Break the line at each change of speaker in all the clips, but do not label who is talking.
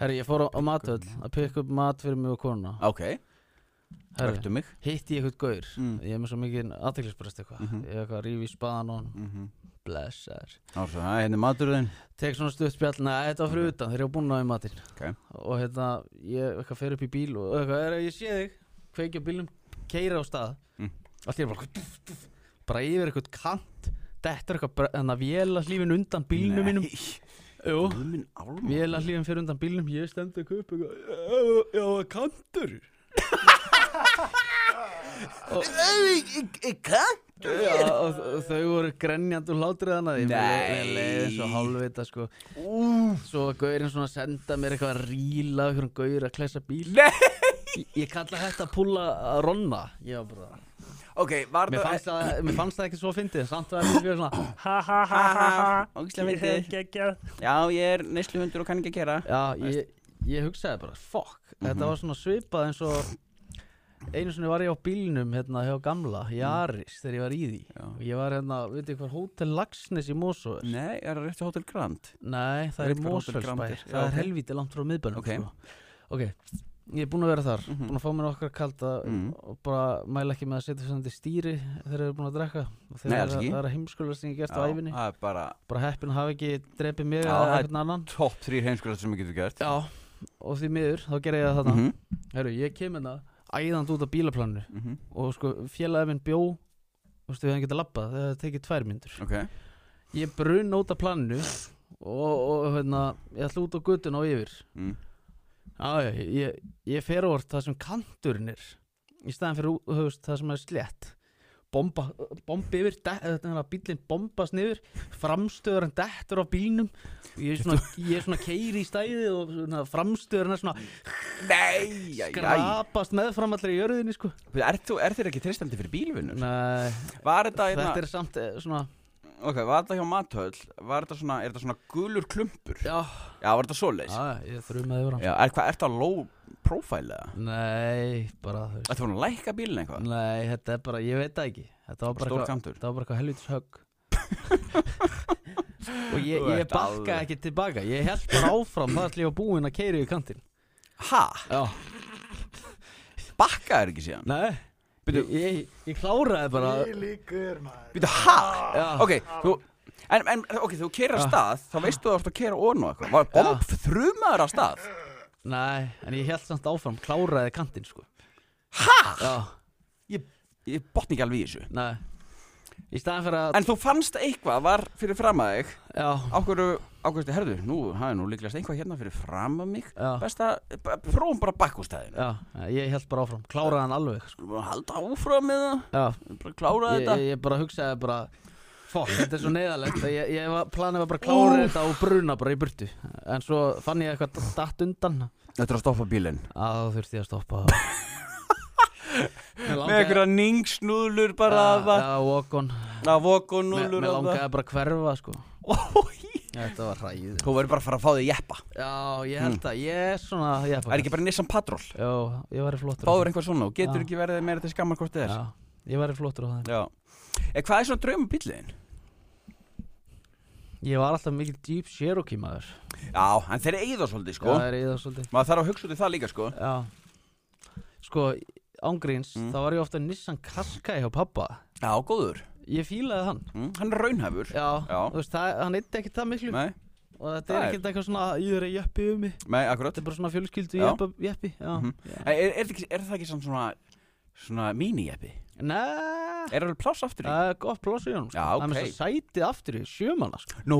Herri, ég fór á, á matvöll að pikka upp mat fyrir mig og kona
Ok,
Herri,
vörtu mig
hitti ég eitthvað gaur
Mm.
Ég er með svo mikið aðteklisbrest eitthvað
Mhm.
Ég er eitthvað að rífi í spaðan og hann,
mm -hmm.
blessaður
Ása, henni maturðin
Tek svona stutt spjall, neða, þetta var fyrir utan þegar ég var búinn að ná í matinn
Ok.
Og hérna, ég eitthvað fer upp í bíl og eitthvað, er, ég sé þig Kveikja á bílnum, keira á stað
Mm.
Allt ég er bara, duf, duf, bara yfir eitthvað kant Þetta er eitthvað, þannig að véla hlífin undan bílnum mínum Jú,
Bílminn álma
Vél að hlýðum fyrir undan bílnum, ég stemdi ekki upp eitthvað, já, já, kantur
Kantur
já, og, og þau voru grenjandi og hlátriðan að ég
Nei.
leiði svo hálfvita sko svo var gaurinn svona að senda mér eitthvað að ríla eitthvað gaur að klessa bíl
Nei
ég, ég kalla þetta að púla að ronna ég var bara,
Ok, var
mér fannst það, mér fannst það ekki svo fyndið, samt var ég fyrir svona ha ha ha ha ha
Ógislega myndið Já, ég er neysluhundur og kann ekki að gera
já, ég, ég hugsaði bara, fuck þetta var svona svipað eins og einu sinni var ég á bílnum hérna hjá gamla, Jaris, þegar ég var í því
Já.
og ég var hérna, veit ég hvað, Hotel Lagsnes í Mosó er
Nei, er það rétt á Hotel Grand?
Nei, það
Ég
er
veit
í
hvað Hotel Grand
Mósfellsbæ
er. Já,
Það er
ok.
helvítið langt frá miðbænum
Ok.
sko. ok, ég er búinn að vera þar mm
Mhm.
Búinn að fá mér okkar kalda
Mhm.
Og bara mæla ekki með að setja sandi stýri Þegar þeir eru búin að drekka Og þeir
Nei,
eru
alls ekki.
að- Það er að heimskulega sem ég hef gert á æfinni
Það er bara
Bara heppin hafa ekki drepið mig
Já,
eða
það er-
eitthvað annan
topp þrýr heimskulega sem ég getur gert
Já, og því miður, þá gerði ég það þarna
Mhm,
Herru, ég kem hérna æðand út af bílaplaninu
mhm,
Og sko, félagið minn bjó Þú veist, við hefum getað labbað Það hefði tekið tvær myndur
Ok
Ég brun út af planinu Og, og hérna, ég ætla út á guttun og yfir
mm.
Já, já, ég, ég fer orð það sem kanturinn er í staðan fyrir ú- þú veist, það sem er slett bomba, bomba yfir de- eða þetta er að bílinn bombast niður framstöðurinn dettur á bílnum og ég er svona, ég er svona keiri í stæði og svona, framstöðurinn er svona
Nei, jæ, jæ
skrapast meðfram allri í jörðinni sko.
Er, þú- er þér ekki treystandi fyrir bílvinnur?
Nei,
Var þetta, hérna,
þetta er samt eh, svona
ok, var þetta hjá mathöll Var þetta svona, er þetta svona gulur klumpur?
já,
Já, var þetta svoleiðis?
já, ég þrumaði yfir hann
Já, er hvað, ertu á low profile eða?
Nei, bara þú veist
Ertu búin að lækka bílinn eitthvað?
Nei, þetta er bara, ég veit það ekki Þetta var bara
Stór
eitthvað-
kantur.
Þetta var bara eitthvað helvitis högg Og ég,
Þú
ég
ert
bakkaði
alveg-
ekki tilbaka Ég held bara áfram þar til ég var búinn að keiri í kantinn
Ha?
Já
Bakka er ekki síðan?
Nei
Bíddu.
ég, ég, ég kláraði bara
líkur maður
Býtu, ha?
Já.
Ok, þú En, en ok, þú kerir af
Já.
stað, þá veistu þú ert að kera ofan og eitthvað. Var bomb þrumaður af stað?
Nei, en ég held samt áfram Kláraði kantinn sko
Ha?
Já,
Ég, ég botni ekki alveg í þessu.
nei Í staðan fyrir að
En þú fannst eitthvað var fyrir fram að þig
Já,
Á hverju, á hverju, herðu, nú, það er nú líklegast eitthvað hérna fyrir fram að mig
Já.
Best að, b- prófum bara bakk úr staðinu
já, ég held bara áfram Kláraði hann alveg sko.
Skulum bara halda áfram með það,
Já,
bara klára
ég,
þetta
ég, ég bara hugsaði bara Fokk, þetta er svo neyðalegt að ég, ég var, planið var bara að klára þetta og bruna bara í burtu En svo fann ég eitthvað datt undan
Þetta er að stoppa bílinn
að þá þurfti ég að stoppa
Með einhverja ningsnúðlur bara að það
Já, walk on
Að
Mér
vokunúðlur
mér langaði bara að hverfa sko
Þú
Þetta var hræðið
verður bara að fara að fá þig jeppa
Já, ég held að ég er svona ég
Það Hmm. er ekki bara Nissan Patrol
Já, ég væri flottur á
Fáður einhvað svona og getur
Já.
ekki verið meira til skammar hvort þið
þeim.
er
Já, ég væri flottur á það
Já Eh, Hvað er svona drauma bíliðin?
Ég var alltaf mikil Jeep Cherokee maður
Já, en þeir eigða svolítið sko
Það er í það svolítið
Maður þarf að hugsa út í það líka sko
Já Sko, ángríns, mm. þá var ég ofta Nissan Qashqai hjá pappa
Já, góður
Ég fílaði hann
Mm, Hann er raunhæfur
Já,
Já.
þú veist, það, hann eitthvað ekki það miklu
Nei,
Og þetta
Það
er
er-
ekkert eitthvað svona, ég er að jeppi um mig
nei, akkurat
Þetta er bara svona fjölskyldu
Já. Mhm.
jeppa- jeppi Já, já.
er, er, er, er það ekki samt svona svona mini-eppi?
Nei,
Er það alveg pláss aftur í?
það er gott pláss í honum sko.
Já,
Það er með
ok.
þess að sætið aftur í sjömanna sko.
Nú,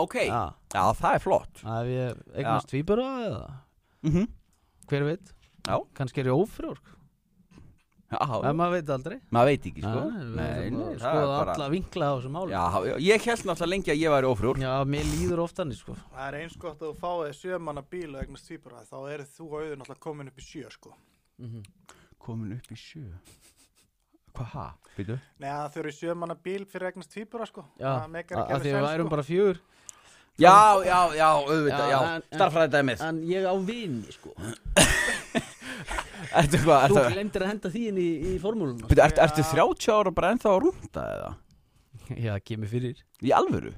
ok
Já,
Já, það er flott
það hef ég eignast tvíbara eða
mm -hmm.
Hver veit,
Já,
kannski er ég ófrjór sko.
já
En maður veit aldrei
maður veit ekki, sko
Já, við þurfum að
það er
Skoða alla vinkla á þessu máli
Já, já, ég held náttúrulega lengi að ég væri ófrúr
Já, mér líður oft hann sko.
Það er eins gott að þú fáið sjömanna bíl og eignast tvíbara þá eru þú og auðun alltaf komin upp í sjö sko.
Mhm.
Komin upp í sjö Hvað, ha? Býtu?
Nei að þau eru sjömanna bíl fyrir að eignast tvíbara sko.
Já,
það meikar
að
ekki
að því
alveg
við
sens,
værum
sko.
bara fjör
Já, já, já, auðvitað,
Já,
já,
en- en-
starffræðidæmið
En ég á vini sko.
Ertu hvað,
Þú
ertu
glemdir að henda því inn í, í formúluna
Býtu, ertu, ertu 30 ára bara ennþá að rúnda eða?
Já, það kemur fyrir Ah,
Í alvöru?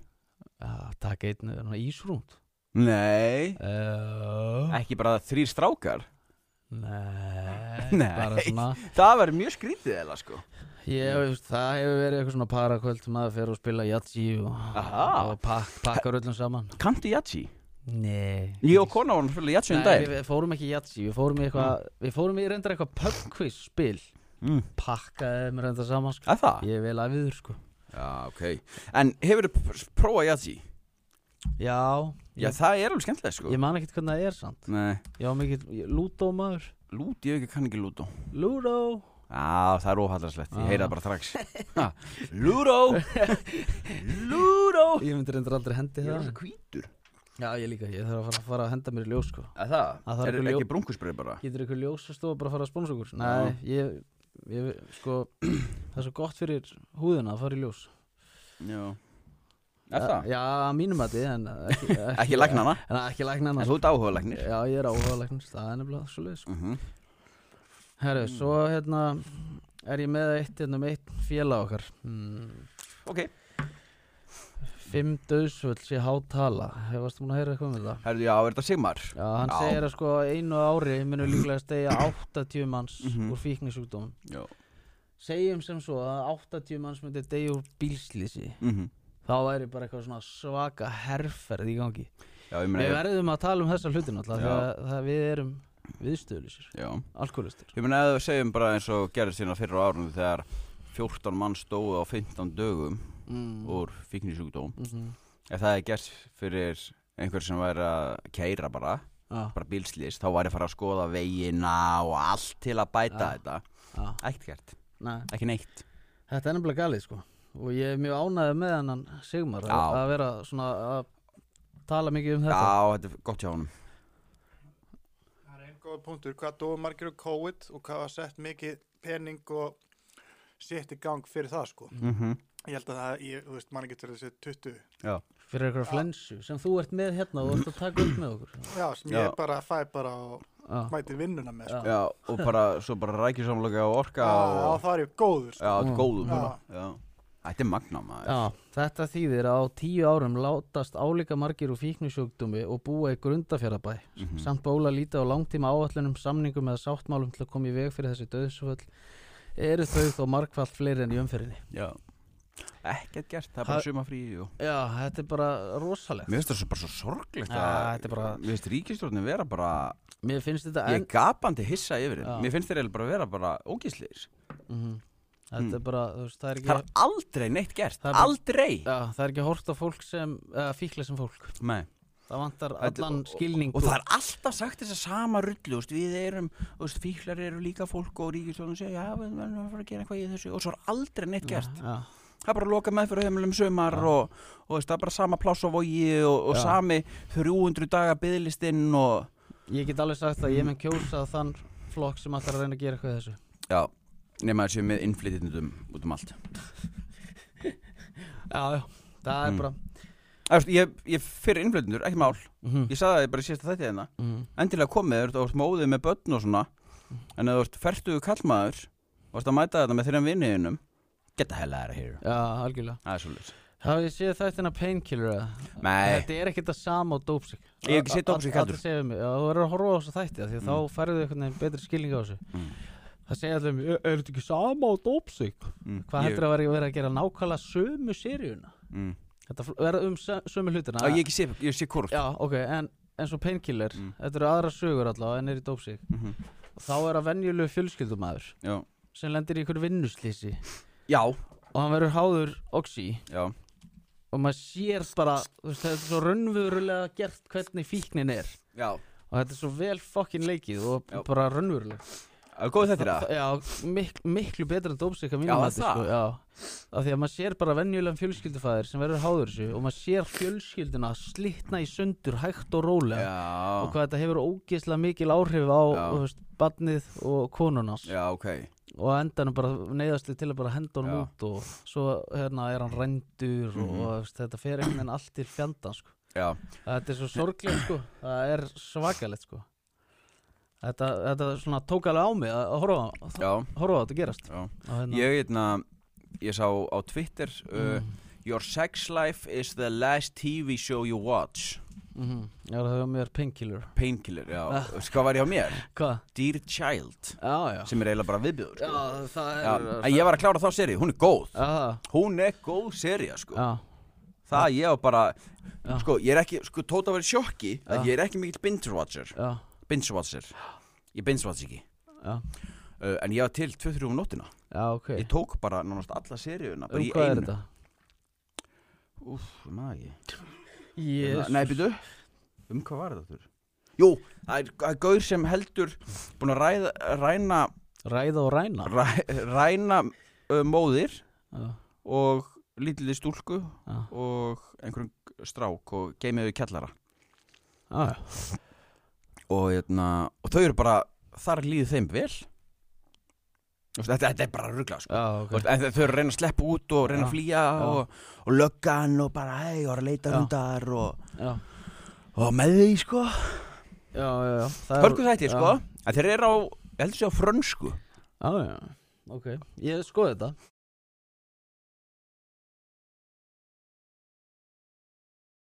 Já, Takk einn eh, svona ísrúnd
Nei
uh,
Ekki bara þrýr strákar
Nei,
Nei.
bara svona
Það var mjög skrítið eða sko
Ég, þú veist, það hefur verið eitthvað svona parakvöld maður fer og spila jatsi og,
Aha.
og pak, pakkar öllum saman
Kanti Jatsi
Nei
Ég og kona vorum fyrir Jatsi um
Nei, við,
daginn
við fórum ekki í jatsi, við fórum í eitthvað Við fórum í reyndar eitthvað pubquiz spil
Mm.
Pakkaði mér reyndar saman sko.
Er það?
Ég er vel æfiður sko
Já, ok En hefur þið prófað Jatsi?
Já,
Já,
ég,
það er alveg skemmtilega sko
ég man ekkert hvernig það er sant
Nei,
Já, mikið lúdómaður
lút, ég ekki kann ekki lútó
Lúdó
Já, það er óhallarslegt, ég
Já.
heyra það bara strax Ha, Lúró Lúró
Ég myndi reyndar aldrei hendi
Ég er
það
alveg hvítur
Já, ég líka, ég þarf að fara, fara að henda mér í ljós sko
Að það,
Að það er
er
einhver ljó-
ekki brúnkusbreið bara
Getur ykkur ljósastofa bara að fara að spónsa okkur? Nei, ég, ég, sko, það er svo gott fyrir húðina að fara í ljós
Já Er það?
Já, að mínum að þið, en ekki,
Ekki lagnana,
En ekki lagna
en
hana
þú ert áhuga lagnir
Já, ég er áhuga lagnar, það er nefnilega svo leiðis
Mhm.
Herru, svo hérna er ég með eitt, hérna með eitt félag okkar mm,
Ok,
Fimm döðsvöld sé hátala, hefast múin að heyra eitthvað um þetta?
herðu, já, er þetta Sigmar?
Já, hann
Já.
segir að sko einu ári munu líklega stegja 80 manns
Mhm.
úr fíknisjúkdómum
Já
Segjum sem svo að 80 manns myndi degja úr bílslýsi
Mhm.
þá væri bara eitthvað svona svaka herrferð í gangi
Já, ég
Við
meina,
verðum að tala um þessa hluti náttúrulega
Já.
því að, það við erum viðstöðlisir,
já
alkoholistir
Ég meina, ef við segjum bara eins og gerðist hérna fyrra á árunum þegar 14 mann stóðu á 15 dögum
mm.
úr fíknisjúkdóm
mm
Ef það er gert fyrir einhver sem væri að keira bara bara bílslýs, þá væri að fara að skoða vegina og allt til að bæta
Já.
þetta
Já,
Ekkert gert,
nei,
ekki neitt
þetta er nefnilega galið sko og ég er mjög ánægð með hennan Sigmar
Já.
að að vera svona að tala mikið um þetta
Já, þetta er gott hjá honum
Það er einn góð punktur, hvað dói margir og COVID og hvað var sett mikið pening og sitt í gang fyrir það sko.
mm -hmm.
Ég held að það, ég, þú veist, mann getur þessi 20.
Já,
fyrir eitthvað flensu sem þú ert með hérna og þú ert að taka upp með okkur
Já, sem
Já.
ég bara fæ bara og
Já.
mæti vinnuna með sko.
já og bara, svo bara rækjusamlega og orka
Já,
og,
það er ég góður sko.
já, þetta er
Mm.
góðum
Já.
já. Þetta er magna maður
Já, þetta þýðir að á tíu árum látast álíka margir úr fíknusjúkdómi og búa í grundafjörðabæ
Mhm. Mm.
samt bóla lítið á langtíma áallunum samningum eða sáttmálum til að koma í veg fyrir þessi döðsvöld eru þau þó margfalt fleiri enn í umfyrinni
Já. Ekkert gert, það er bara
Það-
suma frí og...
Já, þetta er bara rosalegt
Mér finnst það svo bara svo sorglegt
Já,
að-
þetta er bara-
Mér finnst ríkistjórnin vera bara
Mér finnst þetta
Ég
en
er gapandi hissa yfir þeim
Já.
Mér finnst þeir eiginlega bara vera bara ógísleir
Mhm. Þetta er bara, þú veist, það er ekki
Það er aldrei neitt gert,
Það er bara-
aldrei
Já, það er ekki hort á fólk sem, eða fíkla sem fólk
Nei
Það vantar
Þetta-
allan
og-
skilning
Og það er alltaf sagt þess að sama rullu úst, Við erum, úst, fíklar eru líka fólk og ríkistjóðum segja, já, við verðum að fara að gera eitthvað í þessu og svo er aldrei neitt gert
Já,
Það er bara að loka með fyrir heimilum sumar og, og veist, það er bara sama pláss á vogi og, og
Já.
sami 300 daga byðlistinn og
ég get alveg sagt að ég menn kjósa þann flokk sem alltaf að reyna að gera eitthvað í þessu
Já, nema þessu með innflytjendum út um allt
Já, já, það er
Mm.
bara
Það, veist, ég, ég fyrir innflytjendur, ekki mál
Mhm.
Ég sagði það bara í síðasta þætti þeirna
Mhm.
Endilega komið, þú ert- þú ert móðið með börn og svona En ef þú ert fertuðu kallmaður og ert að mæta þetta með þeirra vinniðinum Get the hell out of here
Já, algjörlega
Það er svolítið
Hafið þið séð þættina Painkiller eða?
Nei.
Þetta er ekkert það sama og Dopesick
Ég hef ekki séð Dopesick heldur. Mhm.
Alltaf segja mig, já, þú verður að horfa á þessa þætti af Því að þá færðu einhvern veginn betri skilning á þessu
Mm.
Það segja allir, er er þetta ekki sama og Dopesick?
mm.
Hvað heldur að vera, vera að gera nákvæmlega sömu seríuna?
mm.
Þetta fl- verða um sö- sömu hlutina
Já, ég ekki sé, ég sé korrupt
Já, ok, en eins og Painkiller
Mm.
Þetta eru aðra sögur allavega en er í Dopesick
Mhm.
Og þá er að venjulegu fjölskyldumæður
Já,
sem lendir í einhverju vinnuslýsi
já,
og hann verður háður oxy
já,
og maður sér bara þú veist, þetta er svo raunverulega gert hvernig fíknin er
já.
og þetta er svo vel fokkin leikið og
Já.
bara raunverulega
Það er góð þetta það
já, mik miklu betra en dómsika
Já,
mínum mati,
það.
sko, já. af því að maður sér bara venjulegan fjölskyldufæðir sem verður háður þessu og maður sér fjölskylduna slitna í sundur hægt og rólega og
Já,
hvað þetta hefur ógeðslega mikil áhrif á
Já.
þú veist, badnið og konunars
já, ok
og á endanum bara neyðast við til að bara henda honum
Já.
út og svo hérna er hann rændur mm -hmm. og
Mhm.
þú veist, þetta fer einhvern veginn allt til fjandans sko.
Já,
þetta er svo sorglegt sko það er svakalegt sko þetta, þetta svona tók alveg á mig að að horfa á- að
já,
horfa á þetta gerast
já
og hérna, Mm.
Ég, uh, hérna, ég sá á Twitter uh, Your sex life is the last TV show you watch
Mhm. Já, það hefur mér painkiller
Painkiller, já
Ah.
Veistu Hvað var ég á mér?
Hvað?
Dear Child
Já, já
Sem er eiginlega bara viðbjöður
Já, það
Já,
er
en ég var að klára þá seri, hún er góð
Já, það-
Hún er góð seria, sko
já,
Það ég á bara,
Já.
sko, ég er ekki, sko, tóta verið sjokki að
Já.
ég er ekki mikill binge-watcher
já,
Binge-watcher Ég binge-watch ekki
já
uh, En ég var til 2-3 um nóttina
Já, ok
Ég tók bara nánast alla seríuna bara
Um
í
hvað er
einu
þetta?
Úf, maður ekki
Jésus
Nei, býtu Um hvað var þetta? aftur? Jú, það er, það er gaur sem heldur búin að ræða, ræna
Ræða og ræna
ræ, ræna uh, móðir
Já,
og lítilli stúlku
já,
og einhverjum strák og geimiðu kjallara
Ah, já, já.
og, hérna, og þau eru bara, þar líður þeim vel Þú veist, þetta, þetta er bara ruggla sko.
já,
Þú
ok
veist, en þau- þau eru að reyna að sleppa út og reyna
Já,
að flýja
já.
og, og löggan og bara hei og er að leita
Já.
hundar og,
Já,
og með því sko
já, já, já Það er-
Hörgu þættir sko
Já.
að þeir eru á, ég heldur sér á frönsku
Já, já, ok Ég skoði þetta